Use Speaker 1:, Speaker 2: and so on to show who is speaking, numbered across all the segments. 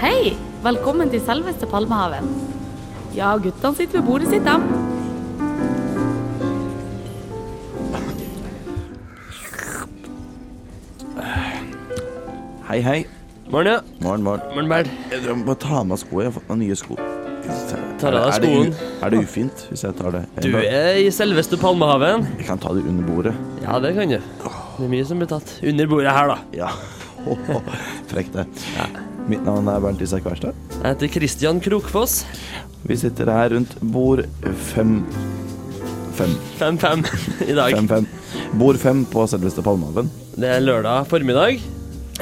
Speaker 1: Hei! Velkommen til selveste Palmehaven. Ja, guttene sitter ved bordet sitt, dem.
Speaker 2: Hei, hei.
Speaker 3: Morn, ja.
Speaker 2: Morgen, morgen.
Speaker 3: Morn, Bernt.
Speaker 2: Jeg må ta av meg skoene. Jeg har fått meg nye sko.
Speaker 3: Ta av deg
Speaker 2: Er det u-
Speaker 3: skoen.
Speaker 2: Er det ufint hvis jeg tar det?
Speaker 3: Du er i selveste Palmehaven.
Speaker 2: Jeg kan ta det under bordet.
Speaker 3: Ja, det kan du. Det er mye som blir tatt under bordet her, da.
Speaker 2: Ja. Frekt, det. Mitt navn er Bernt Isak Wærstad.
Speaker 3: Jeg heter Christian Krokfoss.
Speaker 2: Vi sitter her rundt bord fem Fem.
Speaker 3: 5-5 i dag.
Speaker 2: Fem, fem. Bord fem på selveste Palmehaven.
Speaker 3: Det er lørdag formiddag.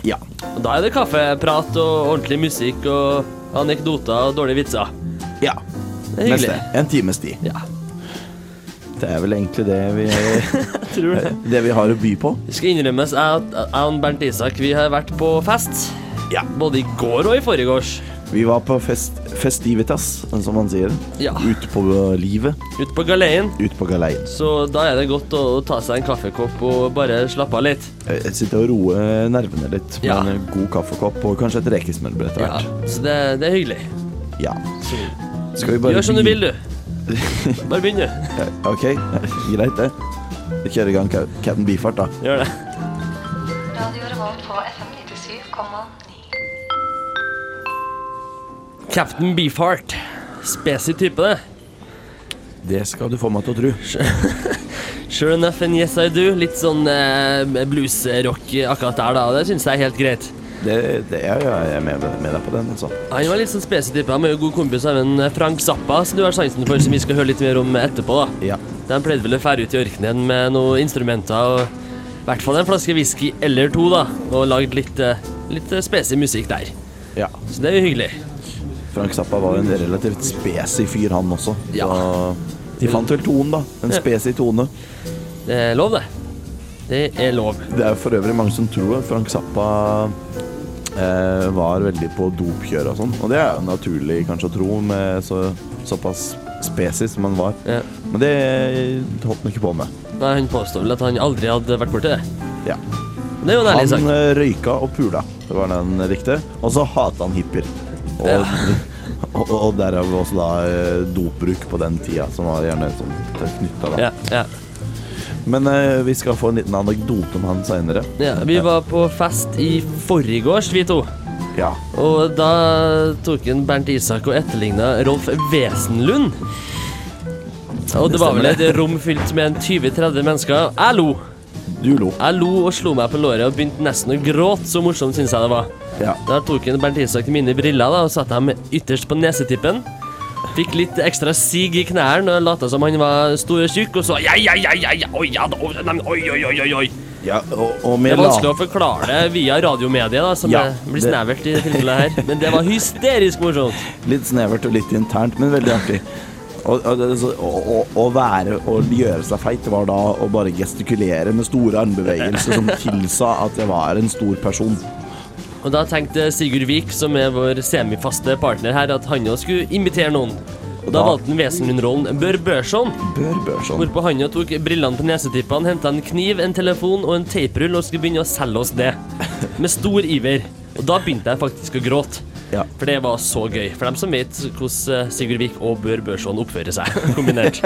Speaker 2: Ja.
Speaker 3: Og da er det kaffeprat og ordentlig musikk og anekdoter og dårlige vitser.
Speaker 2: ja.
Speaker 3: Det er hyggelig.
Speaker 2: Neste. En times tid.
Speaker 3: Ja,
Speaker 2: Det er vel egentlig det vi,
Speaker 3: jeg tror det.
Speaker 2: det vi har å by på.
Speaker 3: Det skal innrømmes at jeg og Bernt Isak vi har vært på fest.
Speaker 2: Ja.
Speaker 3: Både i går og i forgårs.
Speaker 2: Vi var på fest, festivitas, som man sier.
Speaker 3: Ja.
Speaker 2: Ute på livet.
Speaker 3: Ute på galeien.
Speaker 2: Ute på galeien.
Speaker 3: Så da er det godt å å ta seg en kaffekopp og bare slappe av litt.
Speaker 2: Jeg sitter og roer nervene litt med
Speaker 3: Ja.
Speaker 2: en god kaffekopp og kanskje et rekesmørbrød etter
Speaker 3: Ja,
Speaker 2: hvert.
Speaker 3: så det, det er hyggelig.
Speaker 2: Ja. Skal vi bare
Speaker 3: Gjør som du
Speaker 2: by-
Speaker 3: vil, du. Bare begynn, du.
Speaker 2: Ok, greit det. Vi kjører i gang Ca- Captain Bifart, da.
Speaker 3: Gjør det.
Speaker 4: Radio Revolt på FM 97,9.
Speaker 3: Captain Beefheart. Spesi type, det.
Speaker 2: Det skal du få meg til å tro.
Speaker 3: Sure enough and yes I do. Litt sånn eh, bluesrock akkurat der, da. og Det syns jeg er helt greit.
Speaker 2: Det, det er jo jeg er med, med deg på den, altså.
Speaker 3: Han var litt sånn spesi type. Han var jo god kompis av en eh, Frank Zappa, som du har sansen for, som vi skal høre litt mer om etterpå, da.
Speaker 2: Ja.
Speaker 3: De pleide vel å fære ut i ørkenen med noen instrumenter og i hvert fall en flaske whisky eller to, da, og lagd litt, eh, litt spesi musikk der.
Speaker 2: ja.
Speaker 3: Så det er jo hyggelig.
Speaker 2: Frank Zappa var jo en relativt spesi fyr, han også.
Speaker 3: Ja.
Speaker 2: Så de fant vel tonen, da. En
Speaker 3: Ja.
Speaker 2: spesi tone.
Speaker 3: Det er lov, det. Det er lov.
Speaker 2: Det er for øvrig mange som tror at Frank Zappa eh, var veldig på dopkjør og sånn. Og det er jo naturlig kanskje å tro med så, såpass spesi som han var.
Speaker 3: Ja.
Speaker 2: Men det holdt han ikke på med.
Speaker 3: Nei, Han påstår vel at han aldri hadde vært borti det.
Speaker 2: Ja.
Speaker 3: Det er jo en ærlig sak.
Speaker 2: Han eh, røyka og pula, det var den riktige. Og så hata han hippier. Og, og, og derav også da eh, dopbruk på den tida, som var gjerne sånn knytta da.
Speaker 3: Ja, ja,
Speaker 2: Men eh, vi skal få en liten anekdote om han seinere.
Speaker 3: ja. Vi var på fest i forgårs, vi to.
Speaker 2: Ja.
Speaker 3: Og da tok en Bernt Isak og etterligna Rolf Wesenlund. Og det var vel et rom fylt med en 20-30 mennesker. Jeg lo.
Speaker 2: Du lo.
Speaker 3: Jeg lo og slo meg på låret og begynte nesten å gråte. Så morsomt syns jeg det var.
Speaker 2: Ja.
Speaker 3: Da tok en Bernt Isak mine briller da, og satte dem ytterst på nesetippen. Fikk litt ekstra sig i knærne og lata som han var stor og tjukk, og så ja, ja, ja, ja, ja, oi, ja, da, oi, nei, oi, oi, oi, oi, oi.
Speaker 2: ja og, og
Speaker 3: Det
Speaker 2: med
Speaker 3: er vanskelig
Speaker 2: la...
Speaker 3: å forklare det via radiomediet, da, som
Speaker 2: Ja,
Speaker 3: er- blir
Speaker 2: det-
Speaker 3: snevert i det tilfellet her. Men det var hysterisk morsomt.
Speaker 2: Litt snevert og litt internt, men veldig artig. Og, og, det- så- og, og, å være og gjøre seg feit var da å bare gestikulere med store armbevegelser som tilsa at jeg var en stor person.
Speaker 3: Og da tenkte Sigurd Vik, som er vår semifaste partner her, at han òg skulle imitere noen. Og da
Speaker 2: Ja.
Speaker 3: valgte han Wesenlund-rollen Bør Børson,
Speaker 2: Bør sånn Børson.
Speaker 3: hvorpå han jo tok brillene på nesetippene, henta en kniv, en telefon og en teiprull og skulle begynne å selge oss det. Med stor iver. Og da begynte jeg faktisk å gråte.
Speaker 2: Ja.
Speaker 3: For det var så gøy. For dem som vet hvordan eh, Sigurd Vik og Bør Børson oppfører seg kombinert.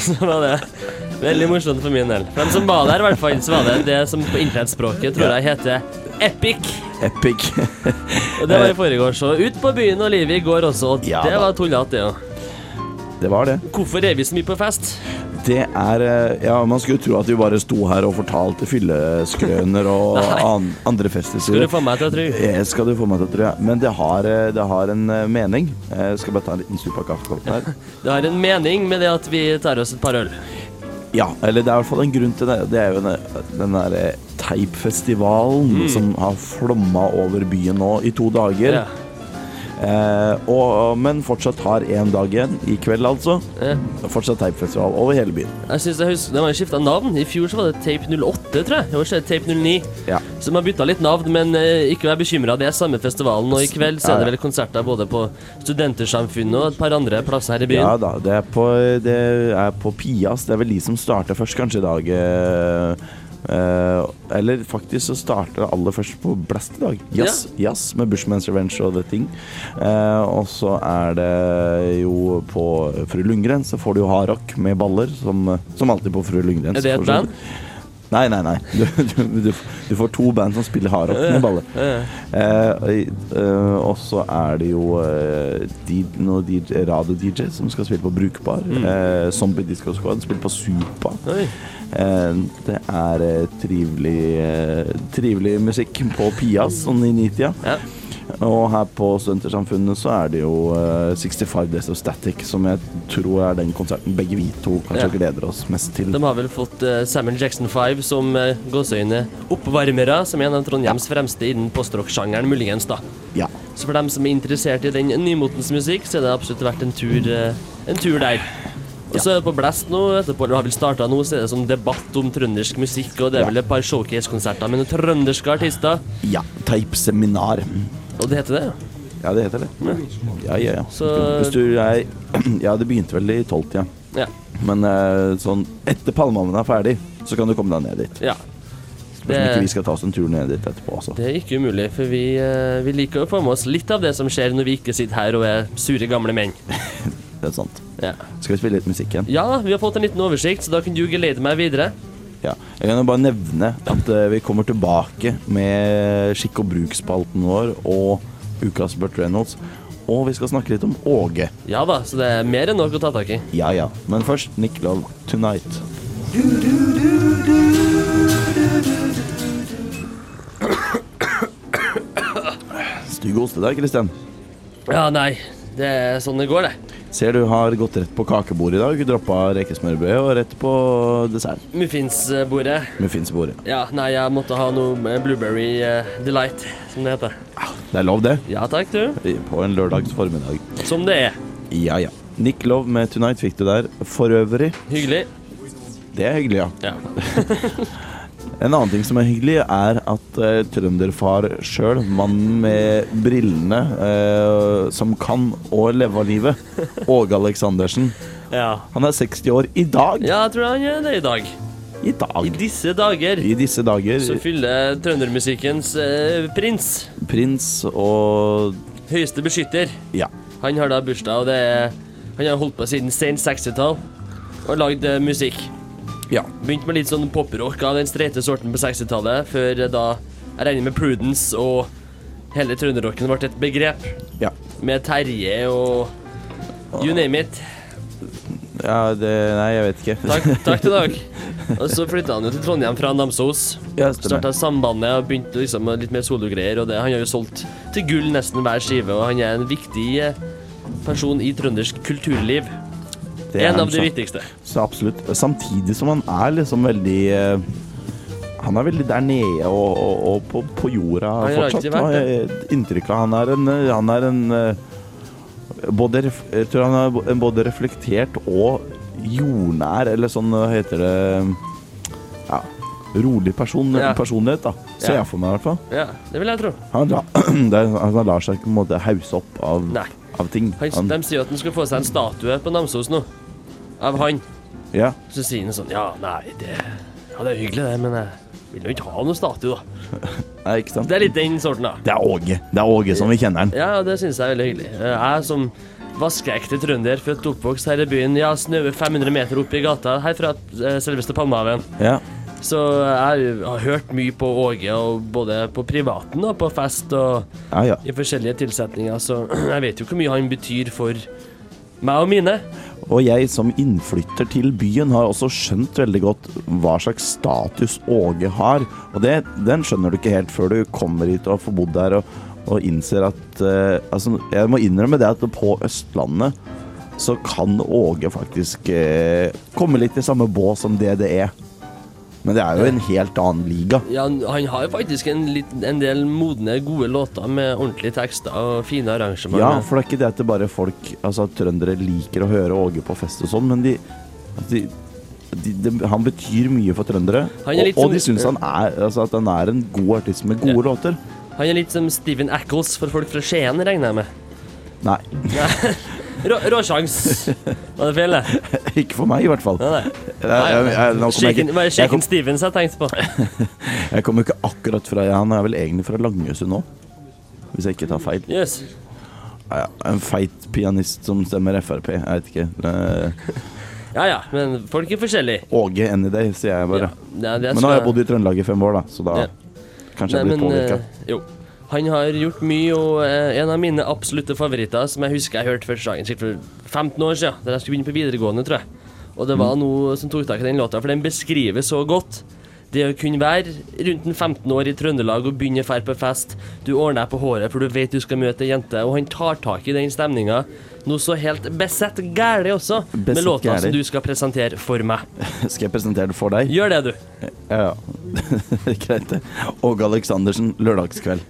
Speaker 3: Så var det veldig morsomt for min del. For dem som var der, i hvert fall, så var det det som på internettspråket tror jeg heter epic.
Speaker 2: Epic.
Speaker 3: Og det var i forgårs. Og ut på byen og livet i går også. Og
Speaker 2: Eh. Ja
Speaker 3: det
Speaker 2: da.
Speaker 3: var tullete, det òg.
Speaker 2: Det var det.
Speaker 3: Hvorfor er vi så mye på fest?
Speaker 2: Det er eh, Ja, man skulle tro at vi bare sto her og fortalte fylleskrøner og
Speaker 3: Nei.
Speaker 2: an, andre
Speaker 3: Skal
Speaker 2: festiser.
Speaker 3: du få meg til å tro?
Speaker 2: Eh, Skal du få meg til å tro, ja. Men det har, eh, det har en eh, mening. Eh, Jeg skal bare ta en liten stup av kaffekoppen her.
Speaker 3: Det har en mening med det at vi tar oss et par øl.
Speaker 2: Ja, eller det er i hvert fall en grunn til det. Det er jo den, den der eh, teipfestivalen som har flomma over byen nå i to dager.
Speaker 3: Ja.
Speaker 2: Eh, og, men fortsatt har én dag igjen, i kveld altså.
Speaker 3: Eh,
Speaker 2: Fortsatt teipfestival over hele byen.
Speaker 3: Jeg synes jeg husker, De har skifta navn. I fjor så var det Tape 08, tror jeg. I år så er det Tape 09.
Speaker 2: Ja.
Speaker 3: Så de har bytta litt navn, men eh, ikke vær bekymra, det er samme festivalen. Og i kveld så er det vel konserter både på Studentersamfunnet og et par andre plasser her i byen.
Speaker 2: Ja da, det er, på, det er på Pias. Det er vel de som starter først, kanskje, i dag. Eh, eh, eller faktisk så starter det aller først på Blast i dag. Jazz jazz med Bushman's Revenge og The Thing. Eh, og så er det jo på Fru Lundgren så får du jo hardrock med baller, som, som alltid på Fru Lundgren.
Speaker 3: Er det et
Speaker 2: For så vidt.
Speaker 3: band?
Speaker 2: Nei, nei, nei. Du, du, du, du får to band som spiller hardrock med baller. Eh, i- eh, og så er det jo eh, de, noen DJ, radio-DJ som skal spille på Brukbar. Eh, Zombie Disco Squad spiller på Supa.
Speaker 3: Oi.
Speaker 2: Eh, det er eh, trivelig, eh, trivelig musikk på Pias, sånn i nitida.
Speaker 3: Ja.
Speaker 2: Og her på Studentersamfunnet så er det jo eh, 65 Days of Static, som jeg tror er den konserten begge vi to kanskje
Speaker 3: Ja.
Speaker 2: gleder oss mest til.
Speaker 3: De har vel fått eh, Samuel Jackson 5 som uh, gåseøyne oppvarmere, som er en av Trondheims fremste innen postrock-sjangeren, muligens, da.
Speaker 2: Ja.
Speaker 3: Så for dem som er interessert i den nymotens musikk, så er det absolutt verdt en tur, eh, en tur der. Og så er det på Blast nå, etterpå eller har vel starta nå, så er det sånn debatt om trøndersk musikk, og det er
Speaker 2: Ja.
Speaker 3: vel et par showcase-konserter med noen trønderske artister.
Speaker 2: ja. Type-seminar.
Speaker 3: Og det heter det, ja.
Speaker 2: Ja, det heter det. Ja, ja, ja.
Speaker 3: Så-
Speaker 2: Hvis du er Ja, det begynte vel i tolvtida.
Speaker 3: Ja.
Speaker 2: Men eh, sånn etter Palmehamn er ferdig, så kan du komme deg ned dit.
Speaker 3: ja.
Speaker 2: Hvis ikke
Speaker 3: Det-
Speaker 2: vi skal ta oss en tur ned dit etterpå, altså.
Speaker 3: Det er ikke umulig, for vi, eh, vi liker å få med oss litt av det som skjer når vi ikke sitter her og er sure gamle menn.
Speaker 2: Det er sant.
Speaker 3: Ja,
Speaker 2: Skal vi spille litt musikk igjen?
Speaker 3: ja vi har fått en liten oversikt, så da kan du geleide meg videre.
Speaker 2: Ja. Jeg kan jo bare nevne at eh, vi kommer tilbake med Skikk og bruk-spalten vår og ukas Burt Reynolds. Og vi skal snakke litt om Åge.
Speaker 3: Ja da, så det er mer enn nok å ta tak i.
Speaker 2: Ja ja. Men først Nick Love Tonight. Stygg hoste der, Kristian.
Speaker 3: Ja, nei, det er sånn det går, det.
Speaker 2: Ser du har gått rett på kakebordet i dag. Droppa rekesmørbrød og rett på dessert.
Speaker 3: Muffinsbordet.
Speaker 2: Muffinsbordet.
Speaker 3: Ja, nei, jeg måtte ha noe med Blueberry eh, Delight, som det heter.
Speaker 2: Det er lov, det.
Speaker 3: Ja takk, du.
Speaker 2: På en lørdags formiddag.
Speaker 3: Som det er.
Speaker 2: Ja ja. Nick Love med 'Tonight' fikk du der. For øvrig,
Speaker 3: Hyggelig.
Speaker 2: det er hyggelig, ja.
Speaker 3: Ja.
Speaker 2: En annen ting som er hyggelig, er at eh, trønderfar sjøl, mannen med brillene eh, som kan å leve av livet, Åge Aleksandersen,
Speaker 3: Ja.
Speaker 2: han er 60 år i dag.
Speaker 3: ja, jeg tror han gjør det i dag.
Speaker 2: I
Speaker 3: I
Speaker 2: dag.
Speaker 3: disse dager
Speaker 2: I disse dager.
Speaker 3: så fyller trøndermusikkens eh, prins
Speaker 2: Prins og
Speaker 3: høyeste beskytter.
Speaker 2: Ja.
Speaker 3: Han har da bursdag, og det er, han har holdt på siden sent 60-tall og lagd eh, musikk.
Speaker 2: ja.
Speaker 3: Begynte med litt sånn poprock av den streite sorten på 60-tallet, før eh, da jeg regner med Prudence og hele trønderrocken ble et begrep,
Speaker 2: Ja.
Speaker 3: med Terje og You name it.
Speaker 2: ja det, nei, jeg vet ikke.
Speaker 3: Takk, takk til deg. Og så flytta han jo til Trondheim fra Namsos.
Speaker 2: Ja, stemmer.
Speaker 3: Starta Sambandet og begynte liksom med litt mer sologreier. Og det, han har jo solgt til gull nesten hver skive, og han er en viktig eh, person i trøndersk kulturliv.
Speaker 2: Det er
Speaker 3: en
Speaker 2: han
Speaker 3: av de
Speaker 2: så-
Speaker 3: viktigste.
Speaker 2: Så absolutt. Samtidig som han er liksom veldig eh, Han er veldig der nede og, og, og på, på jorda
Speaker 3: Han har
Speaker 2: fortsatt.
Speaker 3: alltid vært
Speaker 2: har jeg inntrykk av han er en, eh, han er en eh, både, ref- Jeg tror han er bo- en både reflektert og jordnær, eller sånn hva heter det Ja, rolig person,
Speaker 3: Ja.
Speaker 2: personlighet, da. Ser
Speaker 3: Ja.
Speaker 2: jeg for meg, i hvert fall.
Speaker 3: Ja, det vil jeg tro.
Speaker 2: Han, la, det er, han lar seg ikke på en måte hause opp av,
Speaker 3: Nei.
Speaker 2: av ting.
Speaker 3: Han,
Speaker 2: Han,
Speaker 3: de sier at han skal få seg en statue på Namsos nå, av han.
Speaker 2: ja.
Speaker 3: Så sier han sånn Ja, nei, det, ja, det er hyggelig, det, men jeg vil jo ikke ha noen statue, da.
Speaker 2: Nei, ikke sant?
Speaker 3: Det er litt den sorten, da.
Speaker 2: Det er Åge. Det er Åge som vi kjenner han.
Speaker 3: Ja, det synes jeg er veldig hyggelig. Eh, Jeg som vaskeekte trønder, født og oppvokst her i byen, ja, snøver 500 meter opp i gata herfra eh, selveste Palmehaven.
Speaker 2: Ja.
Speaker 3: Så jeg har hørt mye på Åge, og både på privaten og på fest og
Speaker 2: Ja, ja.
Speaker 3: i forskjellige tilsetninger, så jeg vet jo hvor mye han betyr for meg og mine.
Speaker 2: Og jeg som innflytter til byen har også skjønt veldig godt hva slags status Åge har. Og det, den skjønner du ikke helt før du kommer hit og får bodd der og, og innser at eh, altså, Jeg må innrømme det at på Østlandet så kan Åge faktisk eh, komme litt i samme bås som DDE. Men det er jo en helt annen liga.
Speaker 3: Ja, han- han har jo faktisk en, litt, en del modne, gode låter med ordentlige tekster og fine arrangementer.
Speaker 2: Ja, for det er ikke det at det bare folk Altså at trøndere liker å høre Åge på fest og sånn, men de, at de, de, de Han betyr mye for trøndere.
Speaker 3: Han er litt sånn-
Speaker 2: Og, og de
Speaker 3: som-
Speaker 2: syns han er Altså at han er en god artist med gode låter.
Speaker 3: Han er litt som Steven Ackles for folk fra Skien, regner jeg med.
Speaker 2: Nei,
Speaker 3: Rå, råsjans. Var det feil, det?
Speaker 2: ikke for meg i hvert fall.
Speaker 3: Nei,
Speaker 2: Jeg,
Speaker 3: nei.
Speaker 2: jeg, jeg, nå kommer jeg,
Speaker 3: Shaken,
Speaker 2: ikke-
Speaker 3: bare
Speaker 2: jeg,
Speaker 3: Shaken
Speaker 2: kom,
Speaker 3: Stevens jeg tenkte på.
Speaker 2: jeg kommer ikke akkurat fra Han er vel egentlig fra Langesund nå, hvis jeg ikke tar feil.
Speaker 3: Jøss.
Speaker 2: Ja, ja. En feit pianist som stemmer Frp. Jeg vet ikke. Eh,
Speaker 3: Ja ja, men folk er forskjellige.
Speaker 2: Åge any day, sier jeg bare.
Speaker 3: Ja, det, det
Speaker 2: Men nå har jeg bodd i Trøndelag i fem år, da, så da
Speaker 3: Ja.
Speaker 2: kanskje jeg blir påvirka.
Speaker 3: eh, jo. Han har gjort mye, og eh, en av mine absolutte favoritter, som jeg husker jeg hørte første gangen sikkert for 15 år siden, da jeg skulle begynne på videregående, tror jeg. Og det
Speaker 2: Mm.
Speaker 3: var noe som tok tak i den låta, for den beskriver så godt. Det å kunne være rundt en 15 år i Trøndelag og begynne å dra på fest. Du ordner deg på håret, for du vet du skal møte ei jente, og han tar tak i den stemninga. Noe så helt besett gæli også, med
Speaker 2: Besett
Speaker 3: låta
Speaker 2: gæli.
Speaker 3: som du skal presentere for meg.
Speaker 2: Skal jeg presentere det for deg?
Speaker 3: Gjør det, du.
Speaker 2: Ja, ja. Greit, det. Åge Aleksandersen, lørdagskveld.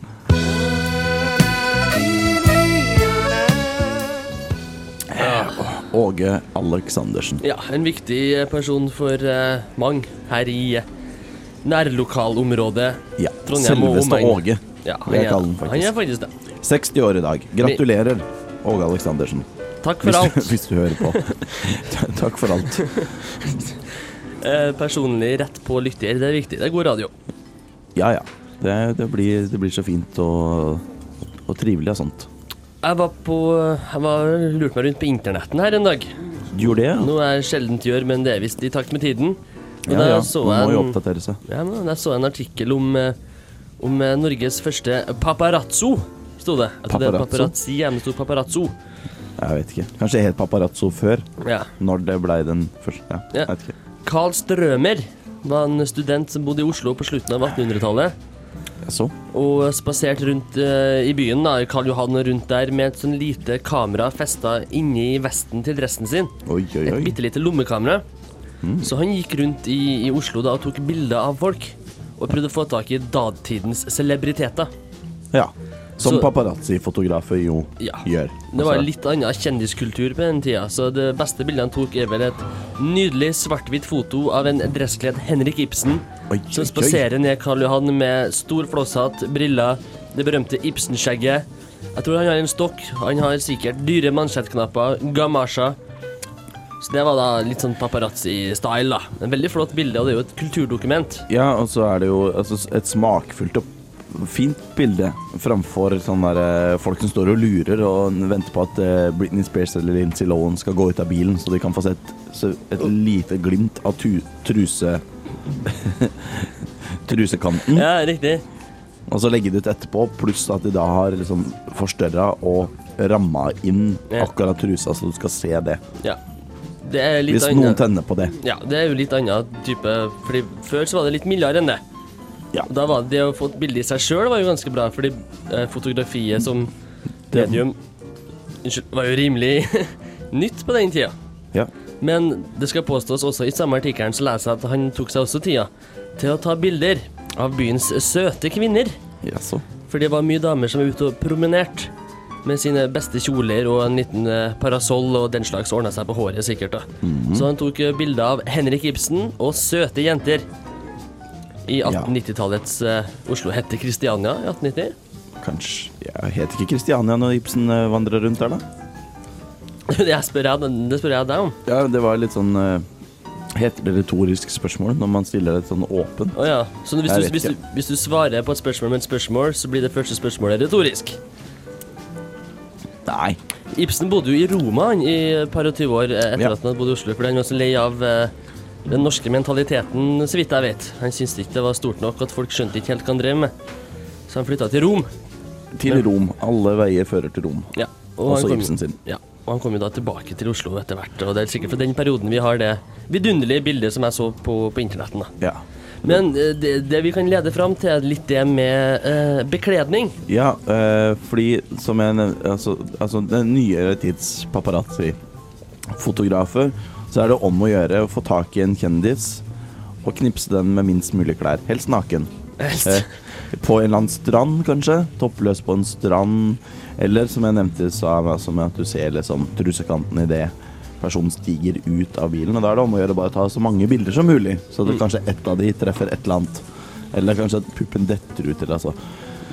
Speaker 2: Eh, Åge Aleksandersen.
Speaker 3: Ja, en viktig eh, person for eh, mange her i eh, nærlokalområdet.
Speaker 2: Ja.
Speaker 3: Trondheim og
Speaker 2: Selveste
Speaker 3: omegn.
Speaker 2: Åge.
Speaker 3: Ja,
Speaker 2: vil jeg kalle den
Speaker 3: er, han er
Speaker 2: faktisk.
Speaker 3: faktisk det.
Speaker 2: 60 år i dag. Gratulerer, Åge Aleksandersen.
Speaker 3: Takk
Speaker 2: Hvis
Speaker 3: for
Speaker 2: du,
Speaker 3: alt.
Speaker 2: hvis du hører på. Takk for alt.
Speaker 3: Eh, personlig rett på lytter, det er viktig. Det er god radio.
Speaker 2: Ja, ja. Det, det, blir, det blir så fint og, og trivelig og sånt.
Speaker 3: Jeg var på eh, Jeg var lurte meg rundt på internetten her en dag.
Speaker 2: Du gjorde det, ja?
Speaker 3: Noe jeg sjeldent gjør, men det er visst i takt med tiden. Og
Speaker 2: Ja,
Speaker 3: da
Speaker 2: ja.
Speaker 3: så
Speaker 2: Man må
Speaker 3: jeg
Speaker 2: jo
Speaker 3: en,
Speaker 2: oppdatere seg.
Speaker 3: ja, men jeg så en artikkel om, eh, om eh, Norges første paparazzo, sto det. At det er
Speaker 2: Paparazzo?
Speaker 3: paparazzi, ja, men det sto paparazzo.
Speaker 2: Jeg vet ikke. Kanskje helt paparazzo før,
Speaker 3: Ja.
Speaker 2: når det blei den første. Ja,
Speaker 3: Ja.
Speaker 2: jeg vet ikke.
Speaker 3: Carl Strømer var en student som bodde i Oslo på slutten av 1800-tallet.
Speaker 2: Jeg så.
Speaker 3: Og spaserte rundt eh, i byen, da, i Karl Johan og rundt der, med et sånn lite kamera festa inni vesten til dressen sin.
Speaker 2: Oi, oi, Mm.
Speaker 3: Et
Speaker 2: oi.
Speaker 3: bitte lite lommekamera. Så han gikk rundt i, i Oslo da og tok bilder av folk. Og prøvde å få tak i datidens celebriteter.
Speaker 2: Ja. Som
Speaker 3: Så-
Speaker 2: paparazzi-fotografer jo
Speaker 3: Ja.
Speaker 2: gjør.
Speaker 3: Det var
Speaker 2: Altså,
Speaker 3: litt annen kjendiskultur på den tida, så det beste bildet han tok, er vel et nydelig svart-hvitt foto av en dresskledd Henrik Ibsen
Speaker 2: Oi,
Speaker 3: som
Speaker 2: oi, oi.
Speaker 3: spaserer ned Karl Johan med stor flosshatt, briller, det berømte Ibsen-skjegget. Jeg tror han har en stokk. Han har sikkert dyre mansjettknapper, gamasjer. Så det var da litt sånn paparazzi-style, da. En veldig flott bilde, og det er jo et kulturdokument.
Speaker 2: Ja, og så er det jo altså, et smakfullt og fint bilde framfor sånne der, eh, folk som står og lurer og venter på at eh, Britney Spears eller Lindsay Lohan skal gå ut av bilen, så de kan få sett så et lite glimt av tu truse trusekanten,
Speaker 3: Ja, riktig.
Speaker 2: og så legge det ut etterpå, pluss at de da har liksom forstørra og ramma inn
Speaker 3: Ja.
Speaker 2: akkurat trusa, så du skal se det.
Speaker 3: Ja. Det er litt
Speaker 2: Hvis
Speaker 3: annet-
Speaker 2: noen tenner på det.
Speaker 3: Ja, det er jo litt annen type Fordi før så var det litt mildere enn det
Speaker 2: Ja.
Speaker 3: Og Da var det å få et bilde i seg selv var jo ganske bra Fordi eh, fotografiet som
Speaker 2: Det-
Speaker 3: medium Unnskyld, var jo rimelig nytt på den tida
Speaker 2: Ja.
Speaker 3: Men det skal påstås også i samme artikkelen så leser jeg at han tok seg også tida Til å ta bilder av byens søte kvinner
Speaker 2: Jaså.
Speaker 3: For det var mye damer som var ute og promenert med sine beste kjoler og en liten eh, parasoll og den slags ordna seg på håret, sikkert. da.
Speaker 2: Mhm.
Speaker 3: Så han tok eh, bilder av Henrik Ibsen og søte jenter i 1890-tallets eh, Oslo hette Kristiania i 1890.
Speaker 2: Kanskje Jeg heter ikke Kristiania når Ibsen eh, vandrer rundt der, da?
Speaker 3: det, jeg spør jeg, det spør jeg deg om.
Speaker 2: Ja, det var litt sånn eh, Heter det retorisk spørsmål når man stiller et sånn åpent?
Speaker 3: Å ja. Så hvis
Speaker 2: Jeg
Speaker 3: du,
Speaker 2: vet
Speaker 3: hvis,
Speaker 2: ikke.
Speaker 3: du, hvis du svarer på et spørsmål med et spørsmål, så blir det første spørsmålet retorisk.
Speaker 2: Nei.
Speaker 3: Ibsen bodde jo i Roma han, i et par og tyve år eh, etter
Speaker 2: Ja.
Speaker 3: at han hadde bodd i Oslo, fordi han var så lei av eh, den norske mentaliteten, så vidt jeg vet. Han syntes ikke det var stort nok at folk skjønte ikke helt hva han drev med, så han flytta til Rom.
Speaker 2: Til Rom. Alle veier fører til Rom.
Speaker 3: Ja,
Speaker 2: Også
Speaker 3: han kom-
Speaker 2: Altså Ibsen sin.
Speaker 3: Ja, og han kom jo da tilbake til Oslo etter hvert, og det er sikkert fra den perioden vi har det vidunderlige bildet som jeg så på, på internetten. da.
Speaker 2: Ja.
Speaker 3: Men eh, det, det vi kan lede fram til, er litt det med eh, bekledning.
Speaker 2: Ja, eh, fordi som jeg nevnte altså, altså den nyere tids paparazzi-fotografer, så er det om å gjøre å få tak i en kjendis og knipse den med minst mulig klær. Helst naken.
Speaker 3: Helst.
Speaker 2: Eh, på en eller annen strand, kanskje. Toppløs på en strand. Eller som jeg nevnte, så er det altså med at du ser liksom trusekanten idet personen stiger ut av bilen. Og da er det om å gjøre å bare ta så mange bilder som mulig, så at kanskje ett av de treffer et eller annet. Eller kanskje at puppen detter ut, eller altså.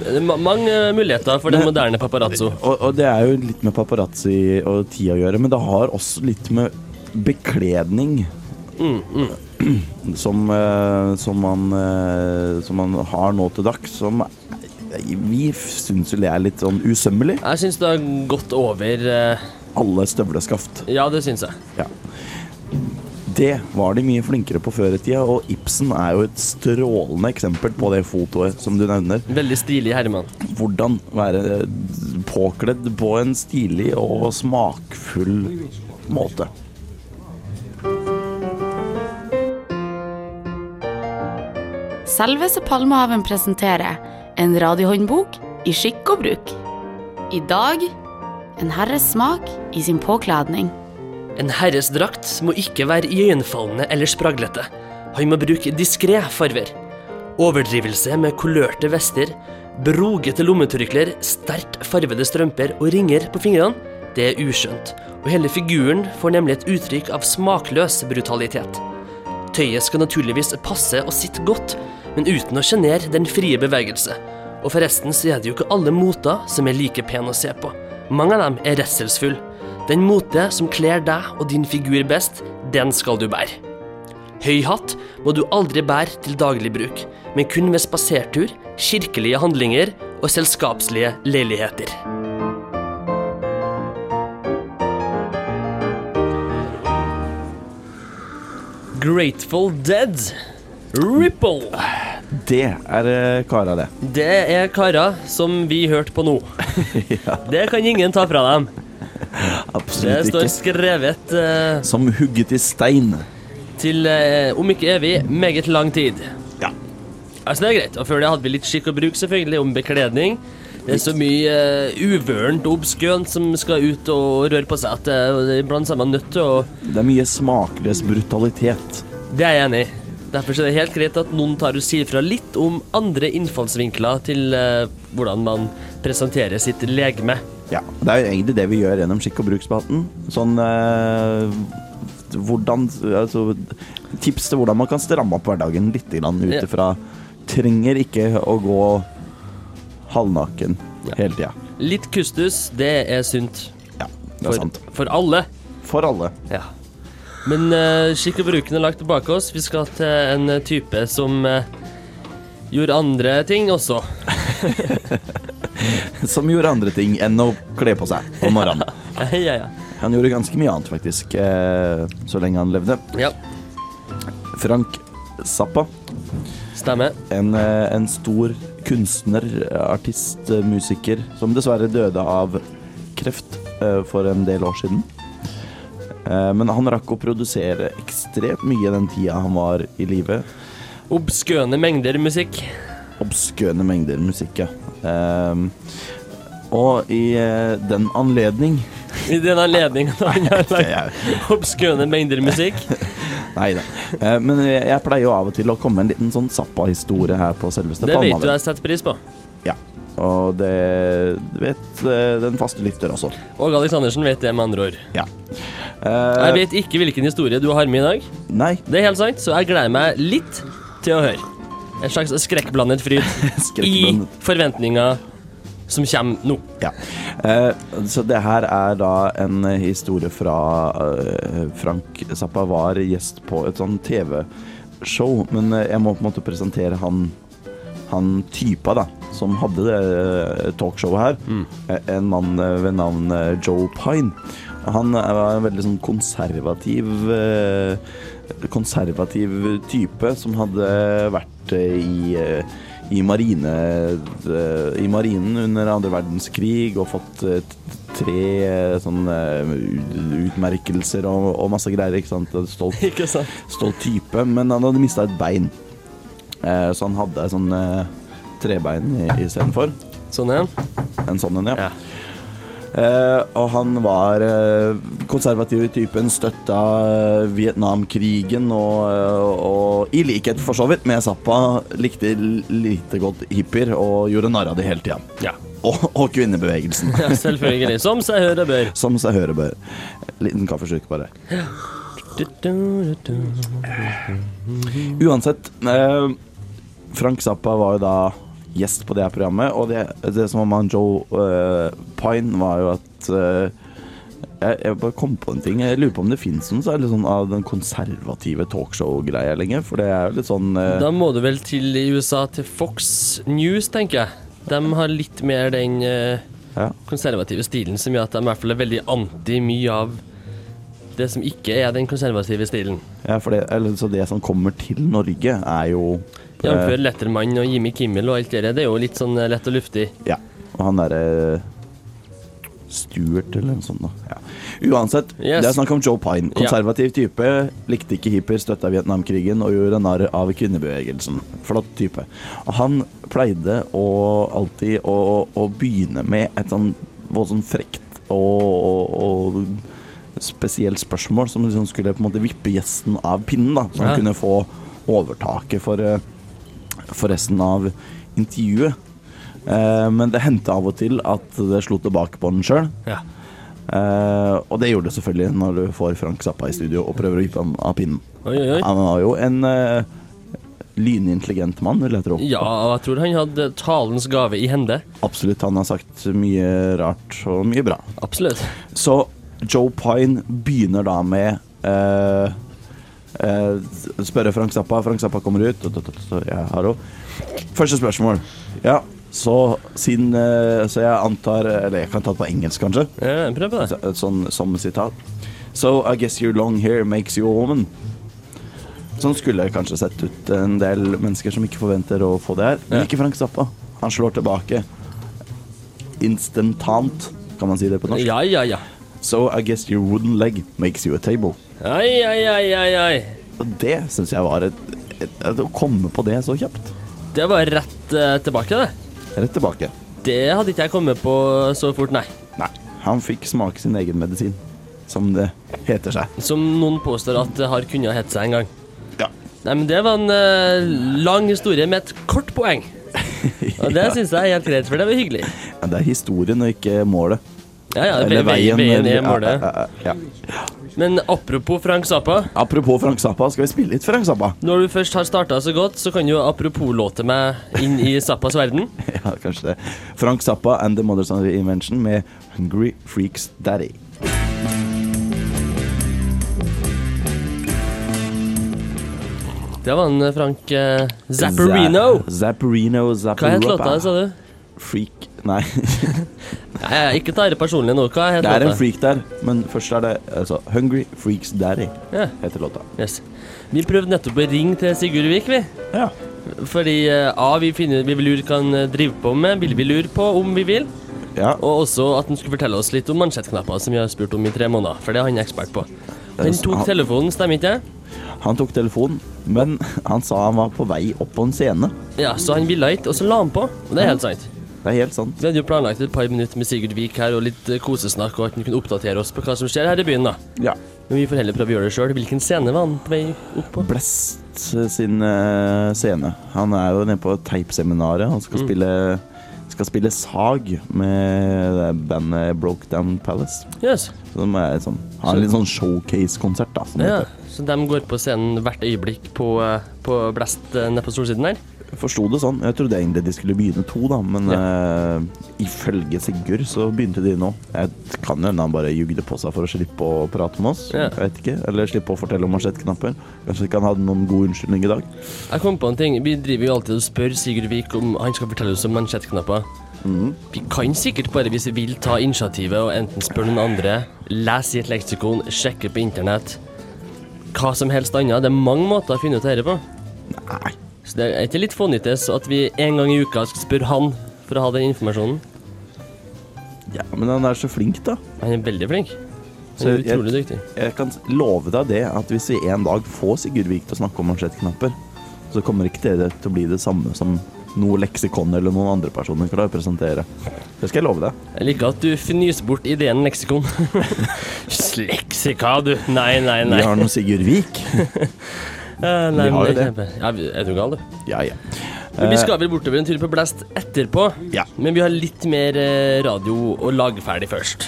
Speaker 3: Det er ma- Mange eh, muligheter for den moderne paparazzo.
Speaker 2: Og, og det er jo litt med paparazzi og tid å gjøre, men det har også litt med bekledning Som, eh, som, man, eh, som man har nå til dags, som vi syns jo det er litt sånn usømmelig.
Speaker 3: Jeg syns det har gått over eh,
Speaker 2: Alle støvleskaft.
Speaker 3: Ja, det syns jeg.
Speaker 2: Ja. Det var de mye flinkere på før i tida, og Ibsen er jo et strålende eksempel på det fotoet som du nevner.
Speaker 3: Veldig stilig herremann.
Speaker 2: hvordan være påkledd på en stilig og smakfull måte.
Speaker 1: Selveste Palmehaven presenterer en radiohåndbok i skikk og bruk. I dag en herres smak i sin påkledning.
Speaker 3: En herres drakt må ikke være iøynefallende eller spraglete. Han må bruke diskré farver. Overdrivelse med kulørte vester, brogete lommetørklær, sterkt farvede strømper og ringer på fingrene, det er uskjønt, og hele figuren får nemlig et uttrykk av smakløs brutalitet. Tøyet skal naturligvis passe og sitte godt, men uten å sjenere den frie bevegelse. Og forresten så er det jo ikke alle moter som er like pene å se på. Mange av dem er redselsfulle. Den mote som kler deg og din figur best, den skal du bære. Høy hatt må du aldri bære til daglig bruk, men kun ved spasertur, kirkelige handlinger og selskapslige leiligheter. Grateful Dead. Ripple.
Speaker 2: Det er eh, kara, det.
Speaker 3: Det er karer som vi hørte på nå.
Speaker 2: Ja,
Speaker 3: Det kan ingen ta fra dem. Det
Speaker 2: absolutt
Speaker 3: står
Speaker 2: ikke.
Speaker 3: skrevet eh,
Speaker 2: Som hugget i stein.
Speaker 3: til, eh, om ikke evig, meget lang tid.
Speaker 2: Ja.
Speaker 3: Altså, det er greit. Og før det hadde vi litt skikk og bruk, selvfølgelig, om bekledning. Det er så mye eh, uvørent og obskønt som skal ut og røre på seg at eh, iblant er man nødt til å
Speaker 2: Det er mye smakløs brutalitet.
Speaker 3: Det er jeg enig i. Derfor så er det helt greit at noen tar og sier fra litt om andre innfallsvinkler til eh, hvordan man presenterer sitt legeme.
Speaker 2: Ja, Det er jo egentlig det vi gjør gjennom skikk- og bruksspalten. Sånn eh, hvordan Altså tips til hvordan man kan stramme opp hverdagen litt grann ut
Speaker 3: Ja.
Speaker 2: ifra Trenger ikke å gå halvnaken
Speaker 3: Ja.
Speaker 2: hele tida.
Speaker 3: Litt kustus, det er sunt.
Speaker 2: Ja, det er
Speaker 3: For,
Speaker 2: sant.
Speaker 3: for alle.
Speaker 2: For alle.
Speaker 3: Ja. Men eh, skikk og bruken er lagt bak oss. Vi skal til en eh, type som eh, gjorde andre ting også.
Speaker 2: Som gjorde andre ting enn å kle på seg om morgenen.
Speaker 3: ja, ja.
Speaker 2: Han gjorde ganske mye annet, faktisk, eh, så lenge han levde.
Speaker 3: ja.
Speaker 2: Frank Zappa,
Speaker 3: Stemmer.
Speaker 2: en, eh, en stor kunstner, artist, eh, musiker, som dessverre døde av kreft eh, for en del år siden. Eh, Men han rakk å produsere ekstremt mye den tida han var i live.
Speaker 3: Obskøne mengder musikk.
Speaker 2: obskøne mengder musikk, ja. Eh, Og i eh, den anledning
Speaker 3: I den anledningen han har
Speaker 2: Ja.
Speaker 3: lagt obskøne mengder musikk.
Speaker 2: Nei da. Eh, Men jeg jeg pleier jo av og til å komme med en liten sånn Zappa-historie her på selveste
Speaker 3: Det vet du
Speaker 2: Palmehaven.
Speaker 3: jeg setter pris på.
Speaker 2: Ja. Og det vet eh, den faste lytter også.
Speaker 3: Åge Aleksandersen vet det, med andre ord.
Speaker 2: Ja.
Speaker 3: Jeg
Speaker 2: Eh,
Speaker 3: vet ikke hvilken historie du har med i dag.
Speaker 2: nei,
Speaker 3: Det er helt sant, så jeg gleder meg litt til å høre. En slags skrekkblandet fryd i
Speaker 2: Skrekkblandet.
Speaker 3: forventninger som kommer nå.
Speaker 2: ja. Eh, så det her er da en historie fra eh, Frank Zappa var gjest på et sånn TV-show, men eh, jeg må på en måte presentere han han typa da, som hadde det eh, talkshowet her, eh, en mann eh, ved navn eh, Joe Pine. Han eh, var en veldig sånn konservativ eh, konservativ type som hadde vært eh, i eh, i, marine, eh, i marinen under andre verdenskrig og fått eh, t- tre eh, sånne eh, utmerkelser og, og masse greier, ikke sant? Stolt
Speaker 3: Ikke sant?
Speaker 2: stolt type, men han hadde mista et bein. Eh, så han hadde sånn eh, trebein i- istedenfor.
Speaker 3: Sånn er
Speaker 2: En sånn en, ja.
Speaker 3: Ja.
Speaker 2: Eh, og han var eh, konservativ i typen, støtta eh, Vietnamkrigen og, eh, og i likhet for så vidt med Zappa likte l- lite godt hippier og gjorde narr av det hele tida.
Speaker 3: Ja.
Speaker 2: Og, og kvinnebevegelsen,
Speaker 3: ja, selvfølgelig. Som seg hør og bør.
Speaker 2: som seg høre bør. Liten kaffeslurk, bare. Uansett, eh, Frank Zappa var jo da gjest på det her programmet, og det, det som var med han Joe eh, Pine, var jo at eh, jeg, jeg bare kom på en ting. Jeg lurer på om det fins noen særlig sånn av den konservative talkshow-greia lenger, for det er jo litt sånn eh,
Speaker 3: Da må du vel til i USA, til Fox News, tenker jeg. De har litt mer den eh,
Speaker 2: ja.
Speaker 3: konservative stilen som gjør at de i hvert fall er veldig anti mye av det som ikke er den konservative stilen.
Speaker 2: ja, for det, eller, så det som kommer til Norge, er jo
Speaker 3: Jf.
Speaker 2: eh,
Speaker 3: Lettermann og Jimmy Kimmel og alt det der. Det er jo litt sånn eh, lett og luftig.
Speaker 2: Ja. Og han derre eh, Stuart eller noe sånt. Da. Ja. Uansett,
Speaker 3: Yes.
Speaker 2: det er snakk om Joe Pine. Konservativ type. Likte ikke hippier, støtta Vietnamkrigen og gjorde narr av kvinnebevegelsen. Flott type. Og han pleide å alltid å, å begynne med et sånn voldsomt frekt og, og, og spesielt spørsmål som liksom skulle på en måte vippe gjesten av pinnen, da. Så han
Speaker 3: Ja.
Speaker 2: kunne få overtaket for eh, for resten av intervjuet. Eh, men det hendte av og til at det slo tilbake på den sjøl.
Speaker 3: Ja.
Speaker 2: Eh, og det gjorde det selvfølgelig når du får Frank Zappa i studio og prøver å vippe ham av pinnen.
Speaker 3: Oi, oi, oi.
Speaker 2: Han var jo en eh, lynintelligent mann, vil jeg tro.
Speaker 3: Ja, og jeg tror han hadde talens gave i hende.
Speaker 2: Absolutt. Han har sagt mye rart og mye bra.
Speaker 3: Absolutt.
Speaker 2: Så Joe Pine begynner da med eh, eh, Spørre Frank Zappa. Frank Zappa kommer ut. og- og- og- og- Ja, hallo. Første spørsmål. Ja, så siden eh, Så jeg antar Eller jeg kan ta det på engelsk, kanskje.
Speaker 3: Ja, prøv på det.
Speaker 2: Så- Sånn som sitat. So I guess your long hair makes you a woman. Sånn skulle jeg kanskje sett ut en del mennesker som ikke forventer å få det her. Men
Speaker 3: Ja.
Speaker 2: ikke Frank Zappa. Han slår tilbake. Instantant, kan man si det på norsk.
Speaker 3: Ja, ja, ja.
Speaker 2: So I guess your wooden leg makes you a table.
Speaker 3: Ai, ai, ai, ai, ai.
Speaker 2: Og det syns jeg var et, et, et, Å komme på det så kjapt.
Speaker 3: Det var rett eh, tilbake, det.
Speaker 2: Rett tilbake.
Speaker 3: Det hadde ikke jeg kommet på så fort, nei.
Speaker 2: Nei. Han fikk smake sin egen medisin, som det heter seg.
Speaker 3: Som noen påstår at det har kunnet hete seg en gang.
Speaker 2: Ja.
Speaker 3: Nei, men det var en eh, lang historie med et kort poeng. Og det synes syns jeg er helt greit, for det var hyggelig.
Speaker 2: Men Det er historien og ikke målet.
Speaker 3: Ja, ja, veien, veien, er målet.
Speaker 2: Ja, ja, ja.
Speaker 3: Men apropos Frank Zappa.
Speaker 2: Apropos Frank Zappa, skal vi spille litt Frank Zappa?
Speaker 3: Når du først har starta så godt, så kan du jo apropos-låte meg inn i Zappas verden.
Speaker 2: Ja, kanskje det. Frank Zappa and The Mothers of Invention med Hungry Freaks Daddy.
Speaker 3: Det var en eh, Frank eh, Zapparino.
Speaker 2: Za- Zapparino,
Speaker 3: Hva het
Speaker 2: Zapparappa.
Speaker 3: låta, sa du?
Speaker 2: Freak Nei,
Speaker 3: Nei, jeg er ikke tar det personlig nå. Hva het
Speaker 2: det er
Speaker 3: låta?
Speaker 2: en freak der, men først er det altså, Hungry Freaks Daddy.
Speaker 3: Ja,
Speaker 2: heter låta.
Speaker 3: yes. Vi prøvde nettopp å ringe til Sigurd Vik, vi.
Speaker 2: Ja.
Speaker 3: Fordi eh, A, vi, finner, vi vil lure hva han eh, driver på med, vil vi lure på om vi vil. Og også at han skulle fortelle oss litt om mansjettknapper, som vi har spurt om i tre måneder. For det er han ekspert på. Han tok telefonen, stemmer ikke det?
Speaker 2: Han tok telefonen, men han sa han var på vei opp på en scene.
Speaker 3: Ja, så han ville ikke, og så la han på. Og det er helt sant.
Speaker 2: Det er helt sant.
Speaker 3: Vi hadde jo planlagt et par minutter med Sigurd Vik her, og litt eh, kosesnakk, og at han kunne oppdatere oss på hva som skjer her i byen, da.
Speaker 2: Ja.
Speaker 3: Men vi får heller prøve å gjøre det sjøl. Hvilken scene var han på vei opp på?
Speaker 2: Blest sin eh, scene. Han er jo nede på teipseminaret. Han
Speaker 3: Mm.
Speaker 2: skal spille skal spille sag med det bandet Broke Down Palace.
Speaker 3: Yes.
Speaker 2: Som er sånn, har en litt sånn showcase-konsert, da. Som det
Speaker 3: Ja.
Speaker 2: heter.
Speaker 3: Så de går på scenen hvert øyeblikk på, eh, på Blest eh, nede på solsiden her.
Speaker 2: Forsto det sånn. Jeg trodde egentlig de skulle begynne to, da, men eh, ifølge Sigurd så begynte de nå. Jeg kan jo hende han bare jugde på seg for å slippe å prate med oss.
Speaker 3: Ja.
Speaker 2: Jeg vet ikke. Eller slippe å fortelle om marsjettknapper. Kanskje ikke han hadde noen god unnskyldning i dag.
Speaker 3: Jeg kom på en ting. Vi driver jo alltid og spør Sigurd Vik om han skal fortelle oss om mansjettknapper.
Speaker 2: Mhm.
Speaker 3: Vi kan sikkert bare, hvis vi vil, ta initiativet og enten spørre noen andre, lese i et leksikon, sjekke på internett. Hva som helst annet. Det er mange måter å finne ut av dette på.
Speaker 2: Nei.
Speaker 3: Så det er ikke litt fånyttes at vi en gang i uka skal spørre han for å ha den informasjonen.
Speaker 2: Ja, men han er så flink, da.
Speaker 3: Han er veldig flink. Han
Speaker 2: Så
Speaker 3: er
Speaker 2: jeg-
Speaker 3: utrolig dyktig.
Speaker 2: Jeg kan s- love deg det at hvis vi en dag får Sigurd Vik til å snakke om mansjettknapper, så kommer ikke det til å bli det samme som noe leksikon eller noen andre personer klarer å presentere. Det skal jeg love deg.
Speaker 3: Jeg liker at du fnyser bort ideen leksikon. Leksika, du! Nei, nei, nei.
Speaker 2: Vi har noe Sigurd Vik.
Speaker 3: Eh, nei,
Speaker 2: vi har jo
Speaker 3: men
Speaker 2: det.
Speaker 3: kjempe- Ja, vi- er du gal, du?
Speaker 2: Ja, ja.
Speaker 3: Men vi skal vel bortover en tur på Blast etterpå.
Speaker 2: Ja.
Speaker 3: Men vi har litt mer eh, radio å lage ferdig først.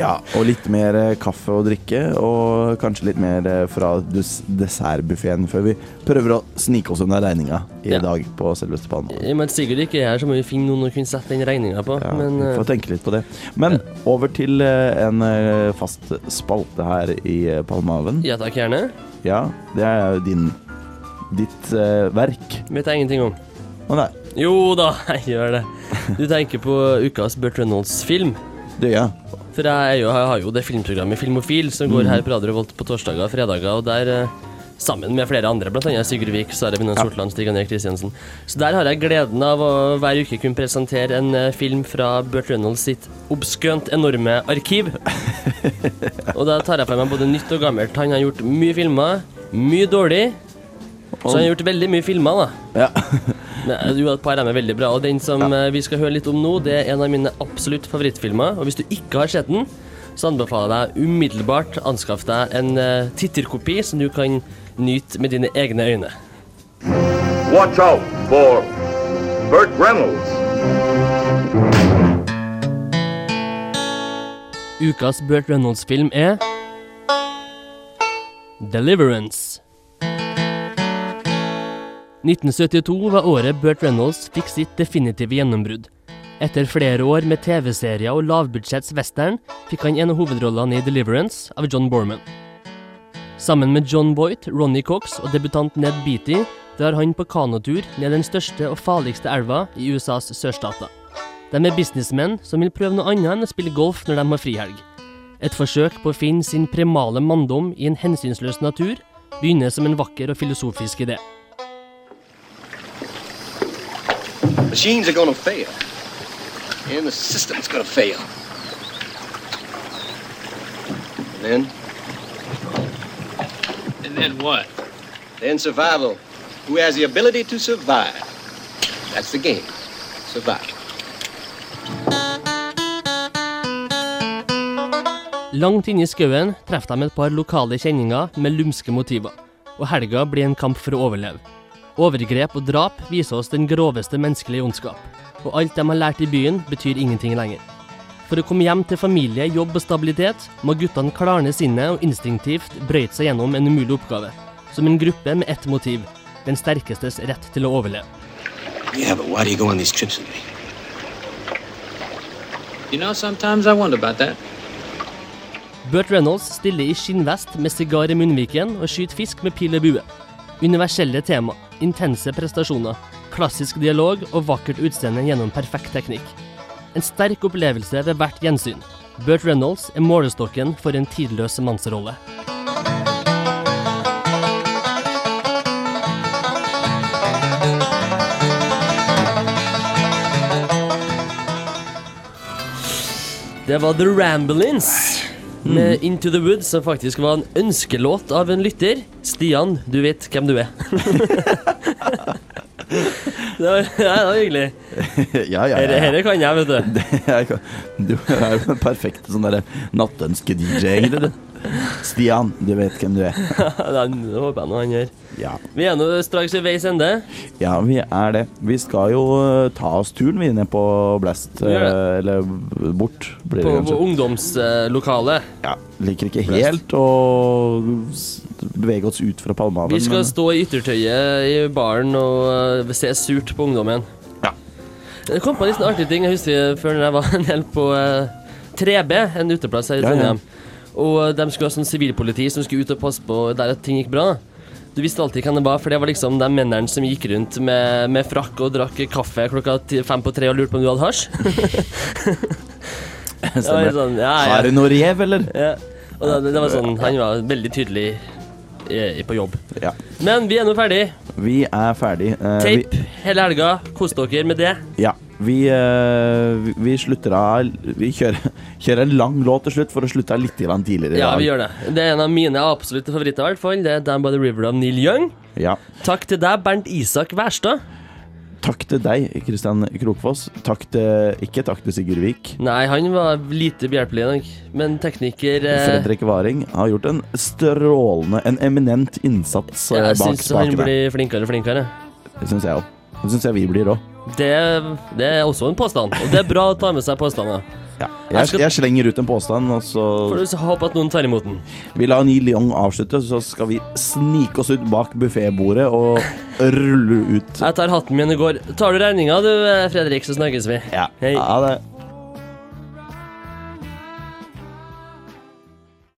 Speaker 2: Ja, og litt mer eh, kaffe og drikke, og kanskje litt mer eh, fra dus- dessertbuffeen før vi prøver å snike oss unna regninga i
Speaker 3: Ja.
Speaker 2: dag på selveste Palma.
Speaker 3: I og med at Sigurd ikke er her, så må vi finne noen å kunne sette den regninga på.
Speaker 2: Ja,
Speaker 3: men
Speaker 2: vi
Speaker 3: eh,
Speaker 2: får tenke litt på det. Men over til eh, en eh, fast spalte her i eh, Palmaven.
Speaker 3: ja takk, gjerne.
Speaker 2: Ja, det er jo din ditt eh, verk.
Speaker 3: Vet jeg ingenting om.
Speaker 2: Å nei,
Speaker 3: Jo da, jeg gjør det. Du tenker på ukas Burt Reynolds-film.
Speaker 2: det gjør jeg.
Speaker 3: For jeg, er jo, jeg har jo det filmprogrammet Filmofil som går her på Radio Revolt på torsdager og fredager, og der eh, sammen med flere andre, blant annet Sigurd Vik, Sverre Vinnan Sortland, Stig André Kristiansen. Så der har jeg gleden av å hver uke kunne presentere en eh, film fra Burt Reynolds sitt obskønt enorme arkiv. og da tar jeg for meg både nytt og gammelt. Han har gjort mye filmer, mye dårlig. Så han har gjort veldig mye filmer, da.
Speaker 2: Ja.
Speaker 3: Men jo, et par er med veldig bra. Og den som eh, vi skal høre litt om nå, det er en av mine absolutt favorittfilmer. Og hvis du ikke har sett den, så anbefaler jeg deg umiddelbart anskaff deg en eh, titterkopi som du kan nyte med dine egne øyne.
Speaker 5: Watch out for Burt Reynolds.
Speaker 3: Ukas Burt Reynolds-film er Deliverance. 1972 var året Burt Reynolds fikk sitt definitive gjennombrudd. Etter flere år med TV-serier og lavbudsjetts western fikk han en av hovedrollene i Deliverance av John Borman. Sammen med John Boyt, Ronny Cox og debutant Ned Beatty drar han på kanotur ned den største og farligste elva i USAs sørstater. De er businessmenn som vil prøve noe annet enn å spille golf når de har frihelg. Et forsøk på å finne sin primale manndom i en hensynsløs natur begynner som en vakker og filosofisk idé.
Speaker 6: Machines are gonna fail. And the system's gonna fail. And then?
Speaker 7: And then what?
Speaker 6: Then survival. Who has the ability to survive? That's the game. Survival.
Speaker 3: Langt inne i skauen treffer de et par lokale kjenninger med lumske motiver, og helga blir en kamp for å overleve. Overgrep og drap viser oss den groveste menneskelige ondskap, og alt de har lært i byen betyr ingenting lenger. For å komme hjem til familie, jobb og stabilitet må guttene klarne sinnet og instinktivt brøyte seg gjennom en umulig oppgave, som en gruppe med ett motiv, den sterkestes rett til å overleve.
Speaker 6: Yeah, but why do you go on these trips with me?
Speaker 7: You know, sometimes I wonder about that.
Speaker 3: Burt Reynolds stiller i skinnvest med sigar i munnviken og skyter fisk med pil og bue. Universelle tema, intense prestasjoner, klassisk dialog og vakkert utseende gjennom perfekt teknikk. En sterk opplevelse ved hvert gjensyn. Burt Reynolds er målestokken for en tidløs mannsrolle. Det var The Ramblins
Speaker 2: Mm.
Speaker 3: med Into the Woods, som faktisk var en ønskelåt av en lytter. Stian, du vet hvem du er. det, var, ja, det var hyggelig.
Speaker 2: ja, ja,
Speaker 3: Herre,
Speaker 2: ja.
Speaker 3: herre kan jeg, vet du.
Speaker 2: Jeg kan- Du er jo en perfekt sånn derre nattønske-DJ, egentlig, du. Stian, du vet hvem du er.
Speaker 3: Det håper jeg nå han gjør.
Speaker 2: Ja.
Speaker 3: Vi er nå straks ved veis ende.
Speaker 2: ja, vi er det. Vi skal jo eh, ta oss turen vi ned på Blast.
Speaker 3: Vi gjør det.
Speaker 2: eh, Eller bort, blir det
Speaker 3: På, på
Speaker 2: kanskje.
Speaker 3: ungdomslokalet.
Speaker 2: Ja, liker ikke helt å s- bevege oss ut fra Palmehaven.
Speaker 3: Vi skal
Speaker 2: men-
Speaker 3: stå i yttertøyet i baren og eh, se surt på ungdommen.
Speaker 2: Ja.
Speaker 3: Det kom på en litt sånn artig ting jeg husker før når jeg var en del på eh, 3B, en uteplass her i
Speaker 2: Ja, ja.
Speaker 3: Trondheim. Og eh, de skulle ha sånn sivilpoliti som skulle ut og passe på der at ting gikk bra. Du visste alltid hvem det var, for det var liksom de mennene som gikk rundt med, med frakk og drakk kaffe klokka ti- fem på tre og lurte på om du hadde hasj. Det var
Speaker 2: Stemmer.
Speaker 3: litt sånn, ja, ja.
Speaker 2: Har du noe rev, eller?
Speaker 3: Ja. Og det, det var sånn, han var veldig tydelig eh, på jobb.
Speaker 2: Ja.
Speaker 3: Men vi er nå ferdig.
Speaker 2: Vi er ferdig. Eh, vi-
Speaker 3: Tape hele helga. Kos dere med det.
Speaker 2: Ja. Vi, eh, vi- vi slutter av Vi kjører, kjører en lang låt til slutt for å slutte av litt grann tidligere i
Speaker 3: Ja,
Speaker 2: dag.
Speaker 3: vi gjør det. Det er en av mine absolutte favoritter, i hvert fall. Det er Down by the River av Neil Young.
Speaker 2: Ja.
Speaker 3: Takk til deg, Bernt Isak Wærstad.
Speaker 2: Takk til deg, Kristian Krokfoss. Takk til Ikke takk til Sigurd Vik.
Speaker 3: Nei, han var lite behjelpelig i dag, men tekniker eh,
Speaker 2: Fredrik Waring har gjort en strålende, en eminent innsats
Speaker 3: ja,
Speaker 2: eh,
Speaker 3: Jeg
Speaker 2: bak
Speaker 3: syns han
Speaker 2: spakene.
Speaker 3: blir flinkere og flinkere.
Speaker 2: Det syns jeg òg. Det syns jeg vi blir òg.
Speaker 3: Det, det er også en påstand, og det er bra å ta med seg påstander.
Speaker 2: Ja.
Speaker 3: Jeg
Speaker 2: Jeg,
Speaker 3: skal-
Speaker 2: jeg slenger ut en påstand, og så
Speaker 3: Får du håpe at noen tar imot den.
Speaker 2: Vi lar Neil Young avslutte, så skal vi snike oss ut bak buffébordet og rulle ut.
Speaker 3: Jeg tar hatten min i går. Tar du regninga du, eh, Fredrik, så snakkes vi.
Speaker 2: Ja.
Speaker 3: Hei.
Speaker 2: Ha det.